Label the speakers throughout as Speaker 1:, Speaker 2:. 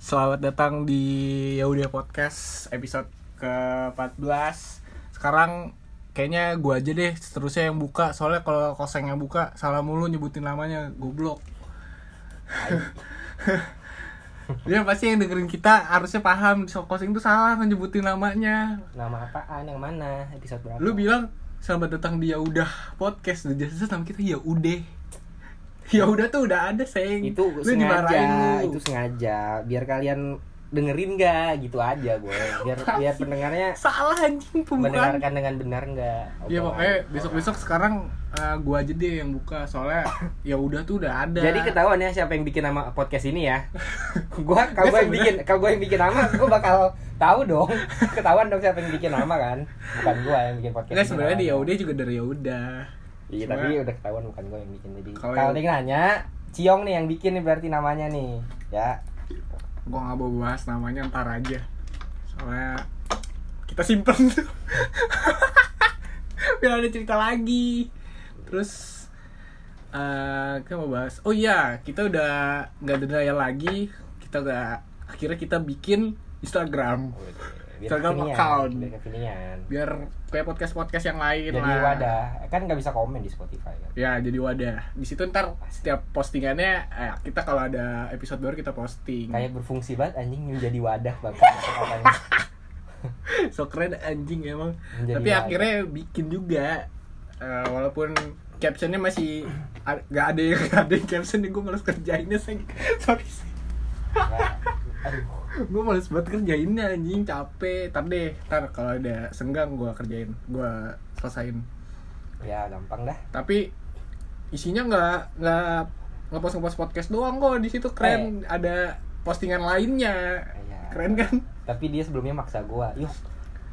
Speaker 1: Selamat datang di Yaudah Podcast episode ke-14 Sekarang kayaknya gua aja deh seterusnya yang buka Soalnya kalau koseng yang buka salah mulu nyebutin namanya Goblok Dia pasti yang dengerin kita harusnya paham so, Koseng tuh salah nyebutin namanya
Speaker 2: Nama apaan? Yang mana? Episode berapa?
Speaker 1: Lu bilang selamat datang di Yaudah Podcast Udah jelas nama kita Yaudeh Yaudah tuh udah ada sayang
Speaker 2: itu
Speaker 1: Lu
Speaker 2: sengaja,
Speaker 1: dimarahin lu.
Speaker 2: itu sengaja biar kalian dengerin gak gitu aja gue biar biar pendengarnya
Speaker 1: Salah anjing pembukaan
Speaker 2: mendengarkan dengan benar nggak
Speaker 1: Iya pokoknya besok-besok sekarang eh, gua aja deh yang buka soalnya ya udah tuh udah ada.
Speaker 2: jadi ketahuan ya siapa yang bikin nama podcast ini ya gua kalau gue yang bikin kalau gue yang bikin nama gue bakal tahu dong ketahuan dong siapa yang bikin nama kan bukan gue yang bikin podcast
Speaker 1: Nggak,
Speaker 2: ini
Speaker 1: sebenarnya di
Speaker 2: namanya.
Speaker 1: ya udah juga dari ya udah.
Speaker 2: iya
Speaker 1: Cuma-
Speaker 2: tapi udah ketahuan bukan gue yang bikin jadi
Speaker 1: Kalau
Speaker 2: kalau
Speaker 1: yang-
Speaker 2: yang nanya Ciong nih yang bikin nih berarti namanya nih ya
Speaker 1: Gua nggak mau bahas namanya ntar aja. Soalnya kita simpen biar ada cerita lagi. Terus eh kita mau bahas. Oh iya, kita udah nggak ada daya lagi. Kita udah akhirnya kita bikin Instagram Instagram
Speaker 2: kekinian,
Speaker 1: account.
Speaker 2: biar kekinian.
Speaker 1: biar kayak podcast-podcast yang lain
Speaker 2: jadi
Speaker 1: lah.
Speaker 2: wadah kan nggak bisa komen di Spotify kan
Speaker 1: ya jadi wadah di situ ntar setiap postingannya eh, kita kalau ada episode baru kita posting
Speaker 2: kayak berfungsi banget anjing menjadi wadah bahkan katanya
Speaker 1: so keren anjing emang
Speaker 2: Menjadi
Speaker 1: tapi
Speaker 2: wadah.
Speaker 1: akhirnya bikin juga Eh, walaupun captionnya masih a- nggak ada yang nggak ada yang caption gue males kerjainnya Seng. sorry
Speaker 2: Nah, aduh
Speaker 1: gue males banget kerjainnya anjing capek ntar deh ntar kalau ada senggang gue kerjain gue selesain
Speaker 2: ya gampang dah
Speaker 1: tapi isinya nggak nggak ngepost ngepost podcast doang kok di situ
Speaker 2: Eh.
Speaker 1: keren ada postingan lainnya
Speaker 2: Iya.
Speaker 1: keren kan
Speaker 2: tapi dia sebelumnya maksa gua yuk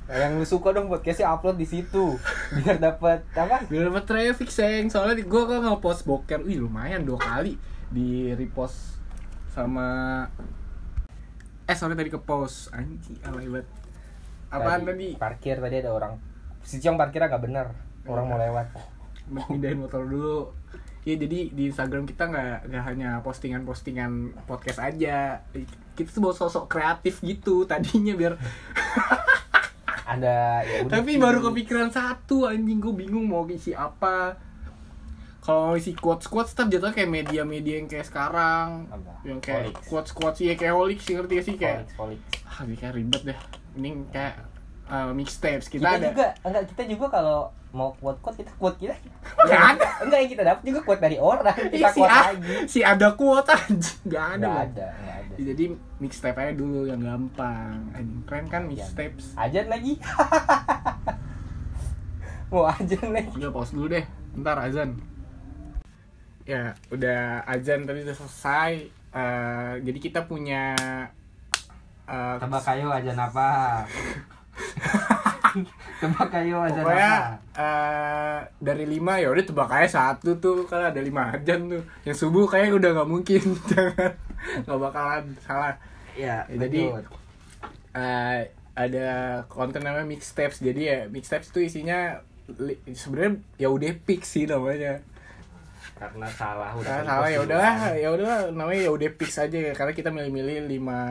Speaker 2: yang lu suka dong podcastnya upload di situ biar dapat apa
Speaker 1: biar dapat traffic seng soalnya gue kan ngepost boker wih lumayan dua kali di repost sama eh sorry tadi ke post anji alay banget apaan tadi
Speaker 2: parkir tadi ada orang si Ciong parkir agak bener orang mau
Speaker 1: Iya.
Speaker 2: lewat
Speaker 1: pindahin motor dulu ya jadi di Instagram kita nggak nggak hanya postingan-postingan podcast aja kita tuh bawa sosok kreatif gitu tadinya biar
Speaker 2: ada ya udah
Speaker 1: tapi baru kepikiran satu anjing gue bingung mau isi apa kalau isi quotes quotes tetap jatuh kayak media-media yang kayak sekarang
Speaker 2: Apa?
Speaker 1: yang kayak
Speaker 2: Holics.
Speaker 1: quotes quotes ya kayak holics sih, ngerti gak sih kayak
Speaker 2: Folix, folix.
Speaker 1: ah ini kayak ribet deh ini kayak uh, mixtapes kita,
Speaker 2: kita,
Speaker 1: ada
Speaker 2: juga enggak kita juga kalau mau quote quote kita quote kita
Speaker 1: Nggak ada.
Speaker 2: enggak yang kita dapat juga quote dari orang
Speaker 1: Ih,
Speaker 2: kita
Speaker 1: si,
Speaker 2: quote
Speaker 1: a-
Speaker 2: lagi
Speaker 1: si ada quote anjing nggak ada
Speaker 2: enggak
Speaker 1: Bang.
Speaker 2: ada enggak ada
Speaker 1: jadi mixtape aja dulu yang gampang anjing keren kan
Speaker 2: Iya.
Speaker 1: mixtapes
Speaker 2: ajan lagi mau ajan lagi
Speaker 1: udah pause dulu deh ntar azan ya udah azan tadi udah selesai Eh, jadi kita punya eh,
Speaker 3: Tebak kayu aja napa? Tebak kayu aja
Speaker 1: pokoknya
Speaker 3: napa?
Speaker 1: eh, dari lima ya udah tebak aja satu tuh kan ada lima azan tuh yang subuh kayaknya udah nggak mungkin jangan nggak bakalan salah
Speaker 3: Ya,
Speaker 1: Ya, jadi-
Speaker 3: lanjut.
Speaker 1: eh ada konten namanya mixtapes jadi ya mixtapes tuh isinya li- sebenarnya ya udah pick sih namanya
Speaker 3: karena salah udah
Speaker 1: Nah,
Speaker 3: tadi
Speaker 1: salah
Speaker 3: pas
Speaker 1: ya
Speaker 3: duluan.
Speaker 1: udah ya udah namanya ya udah fix aja ya karena kita milih-milih lima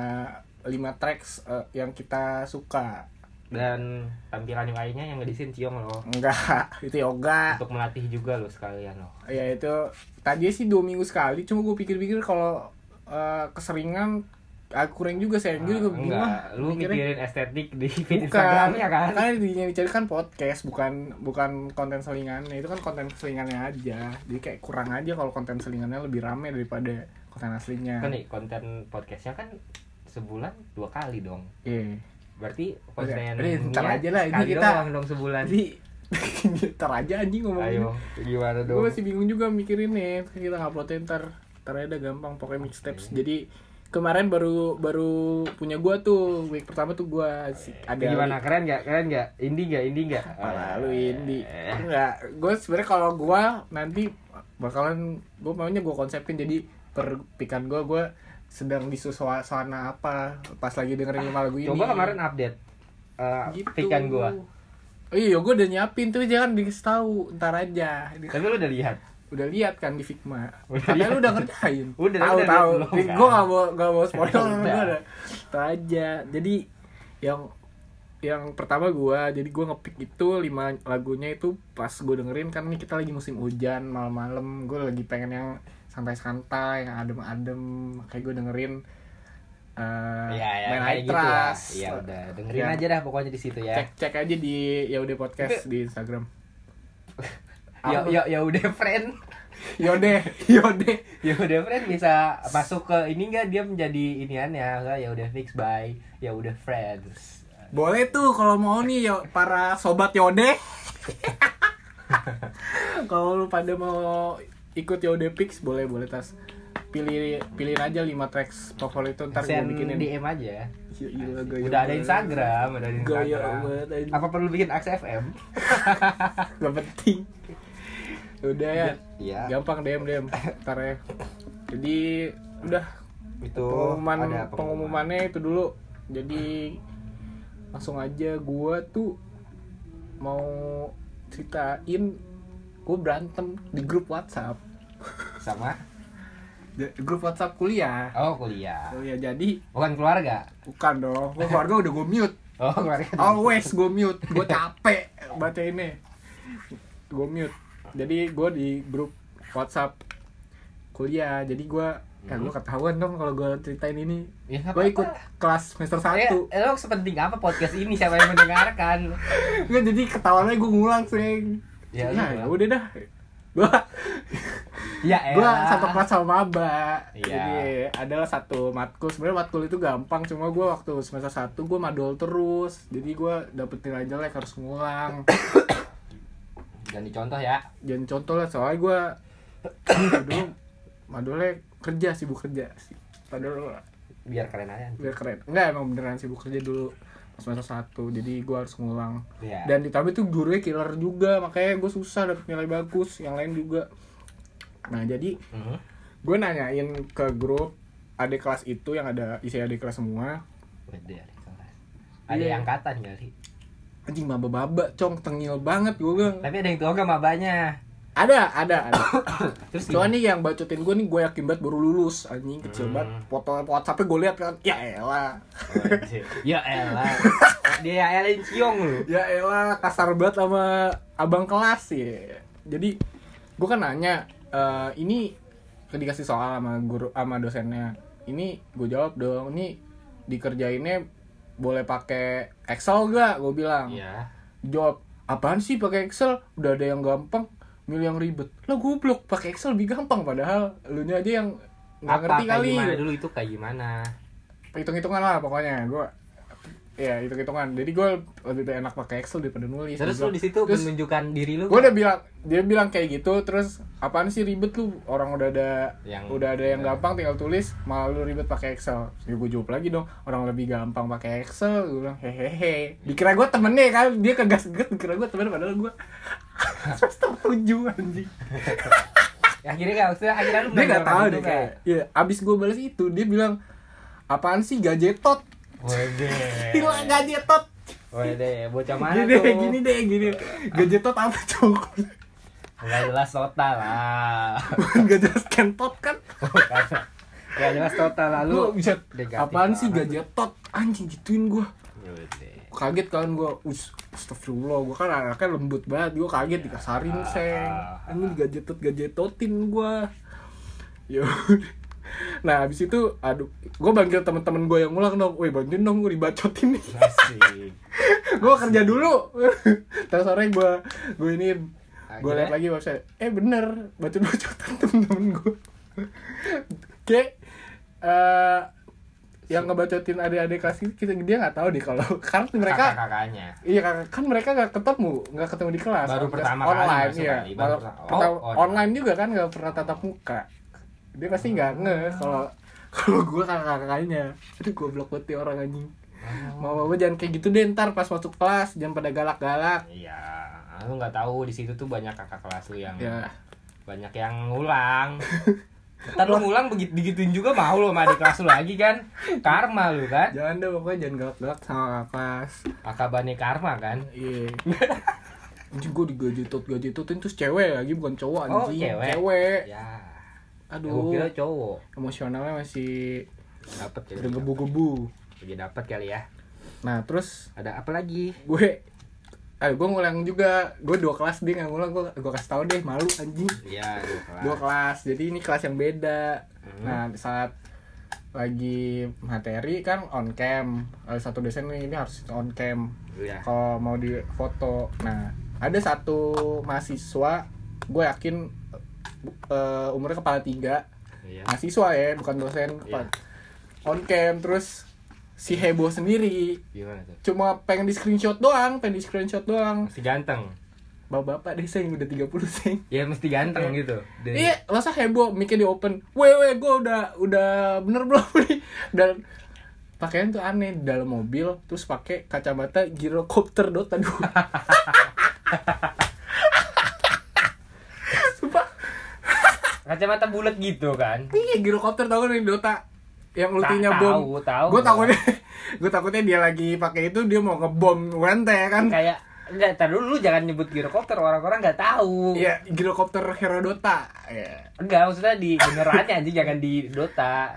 Speaker 1: lima tracks eh, yang kita suka
Speaker 3: Dan tampilan UI-nya yang ngedisin Ciong loh.
Speaker 1: enggak itu yoga
Speaker 3: Untuk melatih juga loh sekalian loh.
Speaker 1: ya itu tadi sih dua minggu sekali cuma gue pikir-pikir kalau eh, keseringan agak kurang juga
Speaker 3: Nah,
Speaker 1: saya juga gue bingung
Speaker 3: enggak,
Speaker 1: ah,
Speaker 3: lu
Speaker 1: mikirnya.
Speaker 3: mikirin estetik di feed
Speaker 1: bukan
Speaker 2: ya
Speaker 3: Instagramnya kan?
Speaker 1: karena yang dicari kan podcast bukan bukan konten selingannya itu kan konten selingannya aja jadi kayak kurang aja kalau konten selingannya lebih rame daripada konten aslinya
Speaker 3: Kan nih konten podcastnya kan sebulan dua kali dong.
Speaker 1: Iya.
Speaker 3: Berarti
Speaker 1: Oke,
Speaker 3: konten
Speaker 1: udah, ntar
Speaker 3: ininya
Speaker 1: aja lah, ini
Speaker 3: sekali
Speaker 1: kita- Iya.
Speaker 3: doang dong sebulan.
Speaker 1: Jadi ntar aja anjing ngomong
Speaker 3: Ayo, gimana
Speaker 1: Gue
Speaker 3: dong?
Speaker 1: masih bingung juga mikirin nih kita nguploadnya ntar ntar ada gampang pokoknya mixtapes. Jadi kemarin baru baru punya gua tuh week pertama tuh gua si- ada
Speaker 3: Gimana Eh. keren gak? Keren gak? Indie gak? Indie gak?
Speaker 1: Pala lu Indi. Enggak, gue sebenarnya kalau gua nanti bakalan gue maunya gua konsepin jadi perpikan gua gua sedang di suasana apa pas lagi dengerin lima lagu ini.
Speaker 3: Ah, Coba kemarin update eh
Speaker 1: Gitu.
Speaker 3: pikan gua.
Speaker 1: Oh iya, gue udah nyiapin tuh jangan dikasih tahu ntar aja.
Speaker 3: Tapi lu udah lihat?
Speaker 1: udah lihat kan di Figma
Speaker 3: Udah
Speaker 1: katanya
Speaker 3: lihat.
Speaker 1: lu udah ngerjain
Speaker 3: Udah,
Speaker 1: tahu
Speaker 3: udah,
Speaker 1: tahu
Speaker 3: udah, belum
Speaker 1: gue
Speaker 3: kan?
Speaker 1: nggak mau nggak mau spoiler
Speaker 3: Udah.
Speaker 1: gua ada Itu aja jadi yang yang pertama gua jadi gua ngepick itu lima lagunya itu pas gue dengerin kan ini kita lagi musim hujan malam-malam gue lagi pengen yang santai-santai yang adem-adem kayak gue dengerin eh
Speaker 2: Iya, ya,
Speaker 1: main
Speaker 2: kayak
Speaker 1: High
Speaker 2: gitu ya.
Speaker 1: Trust.
Speaker 3: Iya,
Speaker 2: Ya udah, dengerin
Speaker 1: Ya.
Speaker 2: aja dah pokoknya di situ ya.
Speaker 1: cek cek aja di ya udah podcast di Instagram
Speaker 2: Ya
Speaker 1: Apa?
Speaker 2: ya ya udah friend.
Speaker 1: Yode, Yode.
Speaker 2: Ya udah friend bisa masuk ke ini enggak dia menjadi inian ya ya udah fix by ya udah friends.
Speaker 1: Boleh tuh kalau mau nih yo, para sobat Yode. kalau lu pada mau ikut Yode Pix boleh boleh tas. Pilih pilihin aja 5 tracks favorit lu, ntar gue
Speaker 2: Send
Speaker 1: bikinin.
Speaker 2: DM aja.
Speaker 1: Ya ilah, gaya
Speaker 2: Udah ada
Speaker 1: banget.
Speaker 2: Instagram, udah ada
Speaker 1: Gaya
Speaker 2: Instagram.
Speaker 1: banget aja.
Speaker 2: Apa perlu bikin AXFM?
Speaker 1: Gak penting. Udah ya.
Speaker 2: Iya.
Speaker 1: Gampang DM DM ntar ya. Jadi udah
Speaker 2: Itu
Speaker 1: pengumuman
Speaker 2: Gitu. ada pengumuman.
Speaker 1: pengumumannya itu dulu jadi langsung aja gua tuh mau ceritain gue berantem di grup WhatsApp
Speaker 2: sama
Speaker 1: Di grup WhatsApp kuliah
Speaker 2: oh kuliah.
Speaker 1: oh ya jadi
Speaker 2: Bukan keluarga.
Speaker 1: bukan dong gua keluarga udah gue mute
Speaker 2: Oh, keluarga.
Speaker 1: always gue mute gue capek baca ini gue mute jadi gue di grup WhatsApp kuliah jadi gua ya gue ketahuan dong kalau gue ceritain ini
Speaker 2: Ya, nggak
Speaker 1: gue
Speaker 2: Hmm. apa-apa.
Speaker 1: ikut kelas semester
Speaker 2: Ya,
Speaker 1: satu
Speaker 2: lo sepenting apa podcast ini siapa yang mendengarkan?
Speaker 1: Nggak, jadi ketahuannya gue ngulang sering ya,
Speaker 2: Ya, lu
Speaker 1: ya
Speaker 2: ngulang.
Speaker 1: udah dah gua
Speaker 2: ya
Speaker 1: gua
Speaker 2: elah.
Speaker 1: satu kelas sama maba
Speaker 2: Iya.
Speaker 1: jadi adalah satu matkul sebenarnya matkul itu gampang cuma gua waktu semester satu gua madol terus jadi gua dapetin aja lah harus ngulang
Speaker 2: Jangan dicontoh ya.
Speaker 1: jangan contoh lah soalnya gua dulu madolnya kerja sibuk kerja padahal
Speaker 2: Biar keren aja.
Speaker 1: biar keren enggak emang beneran sibuk kerja dulu pas semester satu jadi gua harus ngulang
Speaker 2: Iya.
Speaker 1: dan ditambah tuh gurunya killer juga makanya gue susah dapet nilai bagus yang lain juga nah jadi
Speaker 2: Mhm.
Speaker 1: gue nanyain ke grup adik kelas itu yang ada isi adik kelas semua
Speaker 2: Beda ya, kelas. Ada
Speaker 1: Iya.
Speaker 2: yang angkatan kali.
Speaker 1: anjing maba baba cong tengil banget gue bilang
Speaker 2: Tapi ada yang tua gak mabanya.
Speaker 1: ada ada ada
Speaker 2: Terus
Speaker 1: Cuma nih yang bacotin gue nih gue yakin banget baru lulus anjing kecil
Speaker 2: Hmm.
Speaker 1: banget foto WhatsAppnya gue lihat kan ya elah
Speaker 2: Ya elah. Dia ya elah ciong lu.
Speaker 1: ya elah kasar banget sama abang kelas ya jadi gue kan nanya "Eh, ini dikasih soal sama guru sama dosennya ini gue jawab dong ini dikerjainnya boleh pakai Excel gak gue bilang
Speaker 2: Iya.
Speaker 1: jawab apaan sih pakai Excel udah ada yang gampang milih yang ribet lah goblok pakai Excel lebih gampang padahal lu aja yang nggak
Speaker 2: Apa
Speaker 1: ngerti
Speaker 2: kayak
Speaker 1: kali
Speaker 2: gimana dulu itu kayak gimana?
Speaker 1: hitung-hitungan lah pokoknya gue ya hitung-hitungan jadi gue lebih enak pakai Excel daripada nulis
Speaker 2: Terus
Speaker 1: Gua-
Speaker 2: lu di situ
Speaker 1: Terus-
Speaker 2: menunjukkan diri lu.
Speaker 1: gue udah bilang dia bilang kayak gitu terus apaan sih ribet lu orang udah ada
Speaker 2: Yang-
Speaker 1: udah ada yang gampang tinggal tulis malah lu ribet pakai Excel ya gue jawab lagi dong orang lebih gampang pakai Excel gue bilang hehehe dikira gue temennya kan dia kegas-gas dikira gue temen padahal gue semester tujuh anjing
Speaker 2: Ya, Akhirnya gak maksudnya akhirnya lu
Speaker 1: dia nggak
Speaker 2: menunjukkan
Speaker 1: tahu
Speaker 2: itu
Speaker 1: deh
Speaker 2: nggak?
Speaker 1: kayak ya abis gue balas itu dia bilang apaan sih gajetot
Speaker 2: Wede.
Speaker 1: bilang gajetot
Speaker 2: Wede, ya, bocah
Speaker 1: gini
Speaker 2: mana
Speaker 1: deh
Speaker 2: Eh. tuh?
Speaker 1: gini deh gini gajetot apa cowok
Speaker 2: Gak jelas total lah.
Speaker 1: gak jelas kentot kan
Speaker 2: Gak jelas total lah
Speaker 1: lu
Speaker 2: lu.
Speaker 1: bisa
Speaker 2: negatif
Speaker 1: apaan sih
Speaker 2: banget.
Speaker 1: gajah tot anjing gituin gua
Speaker 2: Wede.
Speaker 1: kaget kan gua us astagfirullah gua kan anaknya lembut banget gua kaget
Speaker 2: Ya.
Speaker 1: dikasarin seng
Speaker 2: Ah.
Speaker 1: anjing gajah tot gajah totin gua yo nah abis itu aduh gua panggil temen-temen gua yang ngulang dong woi bantuin dong gua dibacotin nih
Speaker 2: Asik.
Speaker 1: gua kerja dulu terus sore gua gua ini gua lihat lagi website eh bener bacot bacotan temen-temen gua oke eh yang ngebacotin adik-adik kelas ini, kita dia nggak tahu deh kalau karena mereka
Speaker 2: kakaknya
Speaker 1: iya kan- kan mereka nggak ketemu nggak ketemu di kelas
Speaker 2: Baru
Speaker 1: Kelas
Speaker 2: pertama kali
Speaker 1: online
Speaker 2: masuk
Speaker 1: ya
Speaker 2: kali, baru pertama- oh, online.
Speaker 1: online juga kan nggak pernah tatap muka dia pasti nggak nge kalau kalau gue kakak-kakaknya aduh gue blok orang anjing
Speaker 2: Oh.
Speaker 1: mau mau jangan kayak gitu deh ntar pas masuk kelas jangan pada galak-galak
Speaker 2: iya lu nggak tahu di situ tuh banyak kakak kelas lu yang
Speaker 1: ya
Speaker 2: banyak yang ngulang ntar lu ngulang begitu digituin juga mau lu sama adik kelas lu lagi kan karma lu kan
Speaker 1: jangan deh pokoknya jangan galak-galak sama kelas
Speaker 2: Iya. akabannya karma kan
Speaker 1: iya anjing gue digajetot gajetotin terus cewek lagi bukan cowok
Speaker 2: Oh,
Speaker 1: anjing
Speaker 2: cewek.
Speaker 1: cewek.
Speaker 2: ya gue
Speaker 1: aduh
Speaker 2: kira cowok
Speaker 1: emosionalnya masih
Speaker 2: dapat kali ya.
Speaker 1: bergebu-gebu
Speaker 2: Lagi dapat kali ya
Speaker 1: nah terus
Speaker 2: ada apa lagi
Speaker 1: gue eh gue ngulang juga gue dua kelas dia nggak ngulang gue gue kasih tau deh malu anjing
Speaker 2: ya
Speaker 1: dua kelas jadi ini kelas yang beda
Speaker 2: Hmm.
Speaker 1: nah saat lagi materi kan on cam Eh, satu dosen ini ini harus on cam
Speaker 2: ya
Speaker 1: kalau mau di foto nah ada satu mahasiswa gue yakin eh, umurnya kepala tiga
Speaker 2: Iya.
Speaker 1: mahasiswa ya bukan dosen kepala- on cam terus si heboh sendiri
Speaker 2: gimana tuh
Speaker 1: cuma pengen di screenshot doang pengen di screenshot doang
Speaker 2: mesti ganteng
Speaker 1: bapak-bapak deh seng udah 30 seng
Speaker 2: ya mesti ganteng gitu Dan-
Speaker 1: Iya, masa heboh mikir di open. Wewe, gue udah udah bener belum nih. Dan pakaian tuh aneh di dalam mobil terus pakai kacamata gyrocopter Dota 2. Sumpah,
Speaker 2: kacamata bulat gitu kan
Speaker 1: iya gyrocopter tau kan yang Dota yang ultinya
Speaker 2: Ta-
Speaker 1: bom.
Speaker 2: tahu, tahu.
Speaker 1: Gue takutnya gue takutnya dia lagi pakai itu dia mau ngebom Wente kan.
Speaker 2: kayak enggak tar dulu lu jangan nyebut gyrocopter orang-orang nggak tahu
Speaker 1: Iya, gyrocopter hero Dota. Iya.
Speaker 2: enggak maksudnya di benerannya anjing jangan di Dota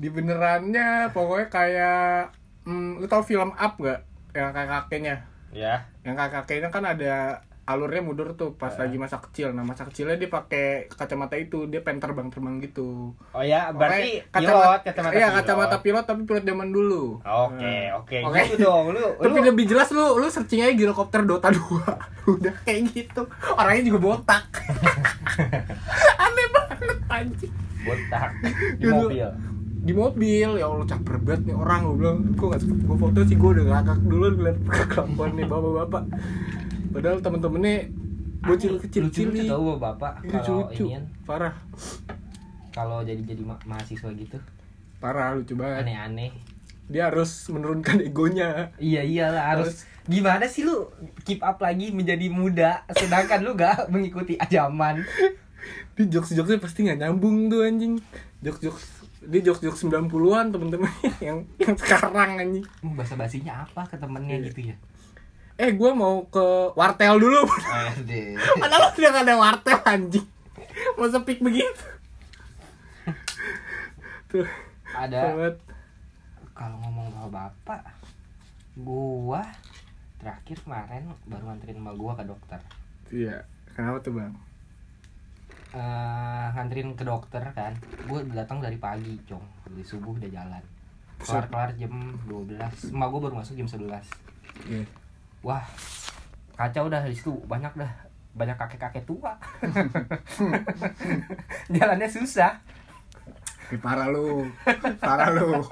Speaker 1: di benerannya pokoknya kayak mm, lu tau film up gak yang kakek kakeknya
Speaker 2: ya
Speaker 1: yang kakek kakeknya kan ada alurnya mundur tuh pas lagi masa kecil nah masa kecilnya dia pakai kacamata itu dia pengen terbang terbang gitu
Speaker 2: oh ya berarti
Speaker 1: Pokoknya
Speaker 2: pilot kacamata
Speaker 1: iya
Speaker 2: pilot.
Speaker 1: kacamata pilot tapi pilot zaman dulu
Speaker 2: oke
Speaker 1: Nah.
Speaker 2: oke
Speaker 1: Oke.
Speaker 2: gitu dong lu
Speaker 1: tapi
Speaker 2: lu
Speaker 1: lebih jelas lu lu searching aja gyrocopter Dota 2 udah kayak gitu orangnya juga botak aneh banget anjing
Speaker 2: botak di
Speaker 1: Dulu.
Speaker 2: mobil
Speaker 1: di mobil ya Allah caper banget nih orang gue bilang gue gak suka gue foto sih gue udah ngakak dulu ngeliat kelakuan nih bapak-bapak padahal temen-temennya bocil kecil kecil
Speaker 2: lucu tahu bapak
Speaker 1: lucu
Speaker 2: kalau
Speaker 1: lucu
Speaker 2: inian
Speaker 1: Iya, parah
Speaker 2: kalau jadi jadi mahasiswa gitu
Speaker 1: parah lucu banget
Speaker 2: aneh-aneh
Speaker 1: dia harus menurunkan egonya
Speaker 2: Iya iyalah harus gimana sih lu keep up lagi menjadi muda sedangkan lu gak mengikuti zaman.
Speaker 1: di jokes jokesnya pasti nggak nyambung tuh anjing jokes jokes dia jokes jokes 90-an temen-temen yang yang sekarang anjing
Speaker 2: Bahasa basinya apa ke temennya gitu ya?
Speaker 1: eh gue mau ke wartel dulu Padahal udah gak ada wartel anjing Mau sepik begitu Tuh
Speaker 2: Ada
Speaker 1: Selamat
Speaker 2: kalau ngomong soal bapak, gua terakhir kemarin baru nganterin emak gua ke dokter.
Speaker 1: Iya Kenapa tuh bang?
Speaker 2: Eh nganterin ke dokter kan, gua datang dari pagi cong, dari subuh udah jalan. Kelar kelar jam 12, emak gua baru masuk jam 11.
Speaker 1: Iya
Speaker 2: Wah, kacau dah di situ. Banyak dah, banyak kakek-kakek tua. Jalannya susah.
Speaker 1: Ih, Parah lu Parah lu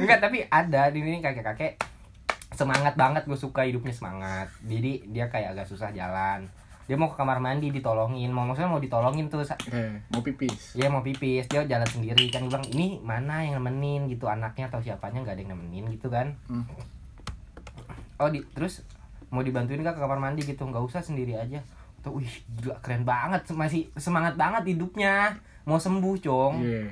Speaker 2: Enggak, tapi ada di sini kakek-kakek semangat banget gue suka hidupnya semangat jadi dia kayak agak susah jalan dia mau ke kamar mandi ditolongin mau maksudnya mau ditolongin terus
Speaker 1: Eh mau pipis
Speaker 2: dia mau pipis dia jalan sendiri kan gue bilang ini mana yang nemenin gitu anaknya atau siapanya nggak ada yang nemenin gitu kan
Speaker 1: Hmm.
Speaker 2: oh di terus mau dibantuin nggak ke kamar mandi gitu nggak usah sendiri aja tuh wih gila keren banget masih semangat banget hidupnya mau sembuh cong
Speaker 1: Iya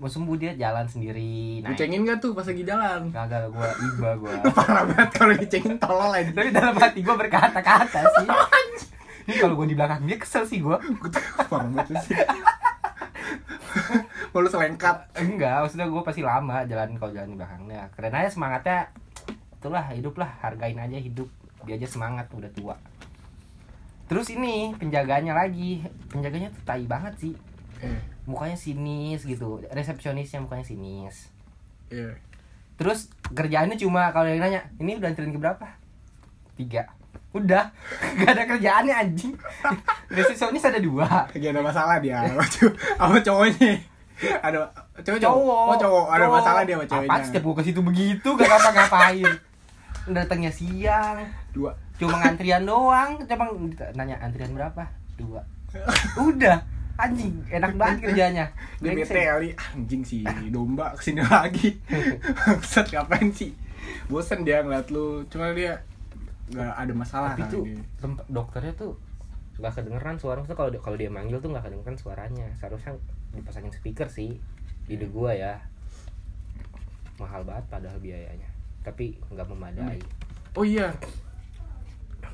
Speaker 2: mau sembuh dia jalan sendiri naik
Speaker 1: Dicengin gak tuh pas lagi jalan?
Speaker 2: gagal gue iba gue
Speaker 1: Parah banget kalau dicengin tolol aja
Speaker 2: tapi dalam hati gue berkata-kata sih ini kalau gue di belakang dia kesel sih gue
Speaker 1: Parah banget sih Mau lu selengkap
Speaker 2: Eh, enggak maksudnya gue pasti lama jalan kalau jalan di belakangnya keren aja semangatnya itulah hiduplah hargain aja hidup dia aja semangat udah tua terus ini penjaganya lagi penjaganya tuh tai banget sih
Speaker 1: Eh
Speaker 2: mukanya sinis gitu resepsionisnya mukanya sinis
Speaker 1: Iya
Speaker 2: terus kerjaannya cuma kalau yang nanya ini udah anterin ke berapa tiga udah gak ada kerjaannya anjing resepsionis ada dua
Speaker 1: Lagi ada masalah dia sama cow- sama cowoknya Ada cowok
Speaker 2: cowok
Speaker 1: Oh cowok Ada masalah dia sama cowoknya
Speaker 2: apaan setiap gua ke situ begitu gak ngapa ngapain datangnya siang
Speaker 1: Dua
Speaker 2: cuma ngantrian doang cuma nanya antrian berapa dua udah anjing enak banget kerjanya
Speaker 1: Dia bete
Speaker 2: Brengsek.
Speaker 1: kali Ah, anjing sih domba kesini lagi Bangsat ngapain sih Bosen dia ngeliat lu Cuma dia nggak ada masalah
Speaker 2: tapi
Speaker 1: sama
Speaker 2: tuh
Speaker 1: dia.
Speaker 2: tempat dokternya tuh nggak kedengeran suaranya Maksudnya kalau dia- kalau dia manggil tuh nggak kedengeran suaranya seharusnya dipasangin speaker sih ide
Speaker 1: Hmm.
Speaker 2: gua ya mahal banget padahal biayanya tapi nggak memadai
Speaker 1: Oh iya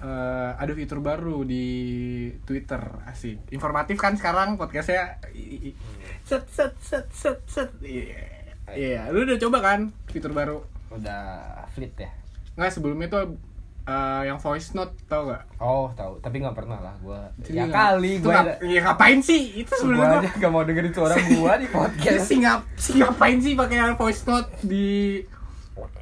Speaker 1: eh, ada fitur baru di Twitter asik informatif kan sekarang podcastnya I- i- i- set set set set set iya Iya, lu udah coba kan fitur baru
Speaker 2: udah flip ya
Speaker 1: nggak sebelumnya tuh eh, yang voice note tau gak
Speaker 2: oh tahu tapi nggak pernah lah gue
Speaker 1: Jadi
Speaker 2: ya
Speaker 1: nggak-
Speaker 2: kali
Speaker 1: itu
Speaker 2: gue
Speaker 1: ngap- ya ngapain sih itu
Speaker 2: gue
Speaker 1: sebenarnya
Speaker 2: aja gak mau dengerin suara gue di
Speaker 1: Ya
Speaker 2: podcast
Speaker 1: sih ngap, sih ngapain sih pakai yang voice note di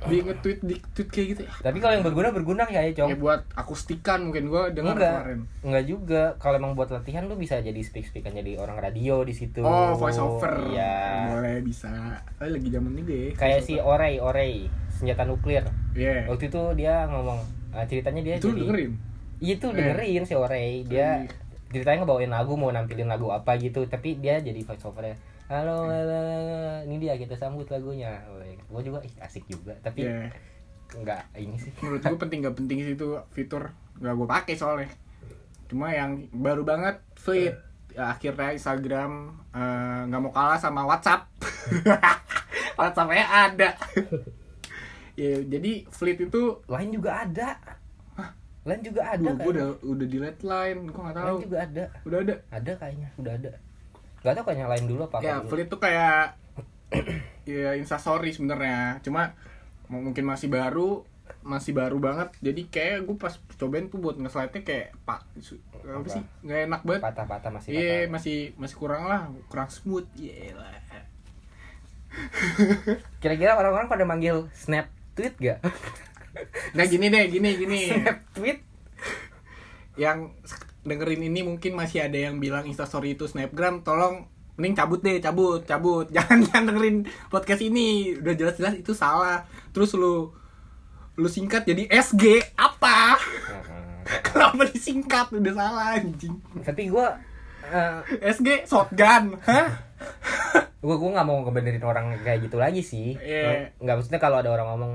Speaker 1: di nge-tweet di tweet kayak gitu ya?
Speaker 2: tapi kalau yang berguna berguna ya
Speaker 1: Ya
Speaker 2: ya cong
Speaker 1: buat akustikan mungkin gua dengar
Speaker 2: enggak
Speaker 1: kemarin.
Speaker 2: enggak juga kalau emang buat latihan lu bisa jadi speak speakan jadi orang radio di situ
Speaker 1: Oh, voice over.
Speaker 2: iya
Speaker 1: Boleh bisa. Eh lagi zaman ini deh.
Speaker 2: kayak si Orei Orei senjata nuklir
Speaker 1: Iya.
Speaker 2: waktu itu dia ngomong eh, ceritanya dia
Speaker 1: Itu lu
Speaker 2: jadi
Speaker 1: dengerin.
Speaker 2: Iya tuh dengerin si
Speaker 1: Iya.
Speaker 2: Orey dia ceritanya ngebawain lagu mau nampilin lagu apa gitu tapi dia jadi voice overnya halo
Speaker 1: Iya.
Speaker 2: lala, ini dia kita sambut lagunya gue juga ih, asik juga tapi
Speaker 1: Iya.
Speaker 2: nggak ini sih
Speaker 1: Menurut gua penting gak penting sih itu fitur gak gua pakai soalnya. Cuma yang baru banget tweet Ya, akhirnya Instagram eh, nggak mau kalah sama WhatsApp. WhatsAppnya ada. ya, jadi Fleet itu
Speaker 2: lain juga ada lain juga ada
Speaker 1: Gue
Speaker 2: kan
Speaker 1: udah udah di line, gue nggak tahu.
Speaker 2: lain juga ada
Speaker 1: Udah ada.
Speaker 2: ada kayaknya udah ada nggak tahu kayaknya lain dulu apa gitu? apa
Speaker 1: Ya,
Speaker 2: dulu.
Speaker 1: Fleet tuh kayak ya instastory sebenarnya. Cuma m- mungkin masih baru, masih baru banget. Jadi kayak gue pas cobain tuh buat nge-slide-nya kayak pak su- apa
Speaker 2: Apa?
Speaker 1: sih? Nggak enak banget.
Speaker 2: patah-patah masih
Speaker 1: Iya,
Speaker 2: patah
Speaker 1: masih masih kurang lah, kurang smooth. Iya Yelah.
Speaker 2: kira-kira orang-orang pada manggil snap tweet gak
Speaker 1: Nah gini deh, gini gini.
Speaker 2: snap tweet
Speaker 1: yang sek- dengerin ini mungkin masih ada yang bilang instastory itu snapgram tolong mending cabut deh cabut cabut jangan jangan dengerin podcast ini udah jelas-jelas itu salah terus lu lu singkat jadi SG apa kenapa disingkat udah salah anjing
Speaker 2: tapi gue eh,
Speaker 1: SG shotgun hah
Speaker 2: gue gue nggak mau ngebenerin orang kayak gitu lagi sih
Speaker 1: Iya.
Speaker 2: nggak nggak, maksudnya kalau ada orang ngomong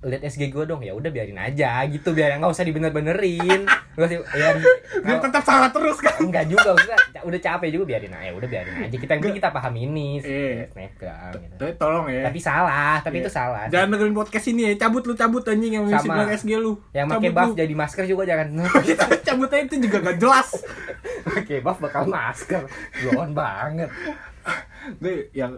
Speaker 2: lihat SG gue dong ya udah biarin aja gitu biar nggak usah dibener-benerin nggak sih ya
Speaker 1: dia
Speaker 2: kalau-
Speaker 1: tetap salah terus kan
Speaker 2: enggak juga maksudnya ca- udah capek juga biarin aja ya udah biarin aja kita yang penting kita paham ini
Speaker 1: Iya.
Speaker 2: snapgram gitu.
Speaker 1: tapi tolong ya
Speaker 2: tapi salah tapi
Speaker 1: Iya.
Speaker 2: itu salah
Speaker 1: jangan dengerin podcast ini ya cabut lu cabut anjing yang masih
Speaker 2: Sama.
Speaker 1: bilang SG lu
Speaker 2: yang pakai
Speaker 1: cabut
Speaker 2: buff
Speaker 1: lu.
Speaker 2: jadi masker juga jangan
Speaker 1: Kita cabut aja itu juga gak jelas
Speaker 2: pakai buff bakal masker blon banget
Speaker 1: gue yang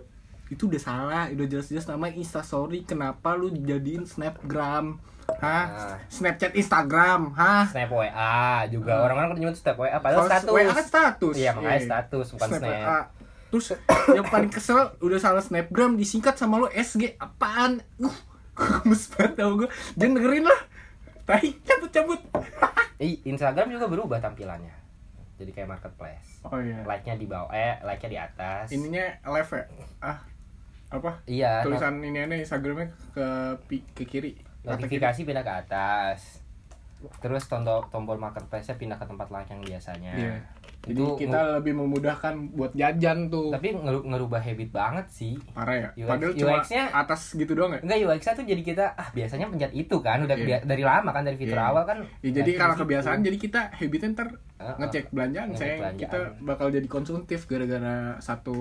Speaker 1: itu udah salah udah jelas-jelas namanya instastory kenapa lu jadiin snapgram
Speaker 2: Ah.
Speaker 1: hah snapchat instagram hah
Speaker 2: snap wa juga orang-orang kan nyebut snap wa
Speaker 1: Ah. Kalau
Speaker 2: padahal status
Speaker 1: WA kan status
Speaker 2: iya makanya
Speaker 1: Iya.
Speaker 2: status bukan snap,
Speaker 1: WA. terus yang paling kesel udah salah snapgram disingkat sama lu sg apaan uh gemes banget tau gue jangan dengerin lah tai cabut cabut
Speaker 2: Ih, Instagram juga berubah tampilannya. Jadi kayak marketplace.
Speaker 1: oh iya
Speaker 2: Like-nya di bawah, eh like-nya di atas.
Speaker 1: ininya live ya ah apa
Speaker 2: iya, not-
Speaker 1: tulisan ini aneh instagramnya ke pi- ke kiri Kata kiri.
Speaker 2: notifikasi pindah ke atas. Terus tombol tombol marketplace-nya pindah ke tempat like yang biasanya.
Speaker 1: Iya. Jadi
Speaker 2: Itu
Speaker 1: kita lebih memudahkan buat jajan tuh.
Speaker 2: tapi ngeru- ngerubah habit banget sih.
Speaker 1: Parah ya.
Speaker 2: UX
Speaker 1: Padahal cuma
Speaker 2: UX-nya
Speaker 1: atas gitu doang ya.
Speaker 2: Enggak UX-nya tuh jadi kita ah biasanya pencet itu kan udah
Speaker 1: Iya.
Speaker 2: bia- dari lama kan dari fitur
Speaker 1: Iya.
Speaker 2: awal kan.
Speaker 1: Ya, jadi
Speaker 2: Nah,
Speaker 1: karena
Speaker 2: itu-
Speaker 1: kebiasaan jadi kita habitnya ntar
Speaker 2: Heeh.
Speaker 1: ngecek belanjaan
Speaker 2: Ngecek
Speaker 1: saya
Speaker 2: belanjaan.
Speaker 1: kita bakal jadi konsumtif gara-gara satu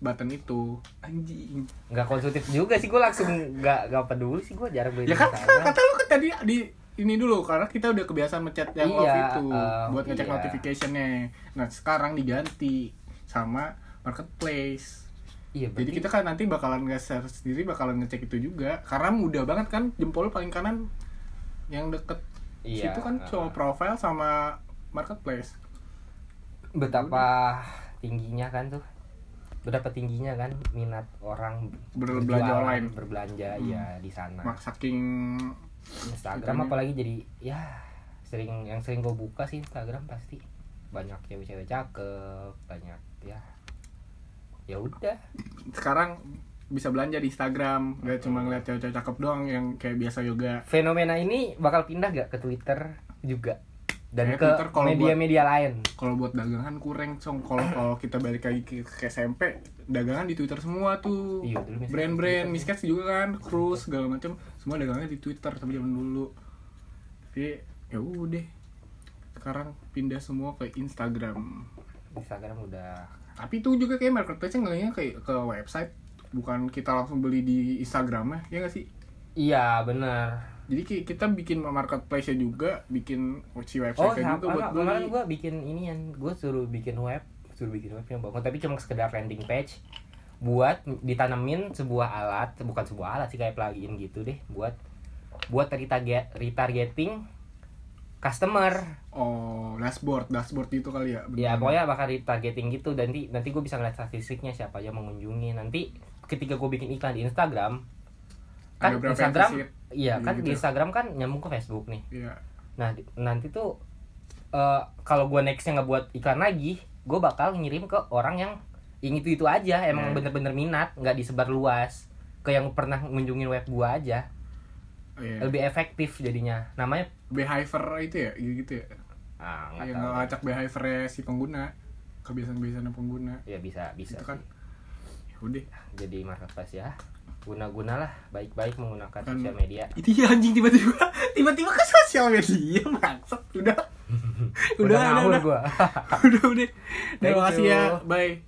Speaker 1: button itu anjing
Speaker 2: Enggak konsultif juga sih gue langsung enggak enggak peduli sih gue jarang beli
Speaker 1: ya kan
Speaker 2: Instagram.
Speaker 1: kata lu kan tadi di ini dulu karena kita udah kebiasaan mencet yang
Speaker 2: Iya,
Speaker 1: off itu
Speaker 2: em,
Speaker 1: buat ngecek
Speaker 2: iya.
Speaker 1: notificationnya nah sekarang diganti sama marketplace
Speaker 2: Iya,
Speaker 1: Jadi
Speaker 2: berarti-
Speaker 1: kita kan nanti bakalan nge share sendiri bakalan ngecek itu juga karena mudah banget kan jempol lu paling kanan yang deket
Speaker 2: Iya,
Speaker 1: situ kan
Speaker 2: uh-uh.
Speaker 1: cuma profile sama marketplace.
Speaker 2: betapa
Speaker 1: Mm-hmm.
Speaker 2: tingginya kan tuh betapa tingginya kan minat orang
Speaker 1: Berbelanja
Speaker 2: berjualan,
Speaker 1: online.
Speaker 2: berbelanja
Speaker 1: Hmm.
Speaker 2: ya di sana
Speaker 1: Mak saking
Speaker 2: Instagram
Speaker 1: Makanya.
Speaker 2: apalagi jadi ya sering yang sering gue buka sih Instagram pasti banyak cewek-cewek cakep banyak ya ya udah
Speaker 1: sekarang bisa belanja di Instagram gak cuma ngeliat cewek-cewek cakep doang yang kayak biasa yoga.
Speaker 2: fenomena ini bakal pindah gak ke Twitter juga dan
Speaker 1: Kayak
Speaker 2: ke
Speaker 1: Twitter kalau buat-
Speaker 2: media-media lain
Speaker 1: Kalau buat dagangan kurang cong kalau kalau kita balik lagi ke, ke SMP dagangan di Twitter semua tuh.
Speaker 2: Iya, dulu Miscast
Speaker 1: Brand-brand
Speaker 2: di Twitter.
Speaker 1: Miscast juga kan, Cruise segala macam semua dagangannya di Twitter sampai zaman dulu. Jadi ya udah sekarang pindah semua ke Instagram.
Speaker 2: Instagram udah
Speaker 1: Tapi itu juga kayak marketplace ngelihatnya kayak ke website bukan kita langsung beli di Instagramnya ya nggak sih
Speaker 2: iya bener
Speaker 1: Jadi ki- kita bikin marketplace-nya juga, bikin si
Speaker 2: Oh,
Speaker 1: website-nya juga
Speaker 2: sama
Speaker 1: gitu buat
Speaker 2: enggak,
Speaker 1: beli.
Speaker 2: kemarin gue bikin ini yang gue suruh bikin web, suruh bikin web yang bangun, tapi cuma sekedar landing page buat ditanemin sebuah alat, bukan sebuah alat sih kayak plugin gitu deh, buat buat retarget, retargeting customer.
Speaker 1: Oh, dashboard, dashboard itu kali ya.
Speaker 2: Ya
Speaker 1: bener.
Speaker 2: pokoknya bakal retargeting gitu dan nanti nanti gue bisa ngeliat statistiknya siapa aja mengunjungi. Nanti ketika gue bikin iklan di Instagram kan
Speaker 1: Ada berapa yang
Speaker 2: Instagram
Speaker 1: visit?
Speaker 2: iya kan
Speaker 1: Gitu.
Speaker 2: di Instagram kan nyambung ke Facebook nih.
Speaker 1: Iya.
Speaker 2: Nah di- nanti tuh eh, kalau gue nextnya nggak buat iklan lagi, gue bakal ngirim ke orang yang yang itu itu aja emang
Speaker 1: Nah.
Speaker 2: bener-bener minat, nggak disebar luas ke yang pernah ngunjungin web gue aja
Speaker 1: Iya.
Speaker 2: lebih efektif jadinya. Namanya
Speaker 1: Behavior itu ya, gitu ya.
Speaker 2: ah, nggak
Speaker 1: Yang
Speaker 2: tahu.
Speaker 1: ngelacak behaviornya si pengguna, kebiasaan-kebiasaan pengguna.
Speaker 2: ya bisa bisa
Speaker 1: Itu kan.
Speaker 2: sih.
Speaker 1: Ya udah.
Speaker 2: jadi marketplace ya guna-gunalah baik-baik menggunakan
Speaker 1: Kan-
Speaker 2: sosial media
Speaker 1: Itu ya anjing tiba-tiba tiba-tiba kan ke sosial media maksud ya? Iya, udah. udah, udah,
Speaker 2: ngawur
Speaker 1: udah.
Speaker 2: gua
Speaker 1: udah udah
Speaker 2: Thank
Speaker 1: terima kasih
Speaker 2: you.
Speaker 1: ya bye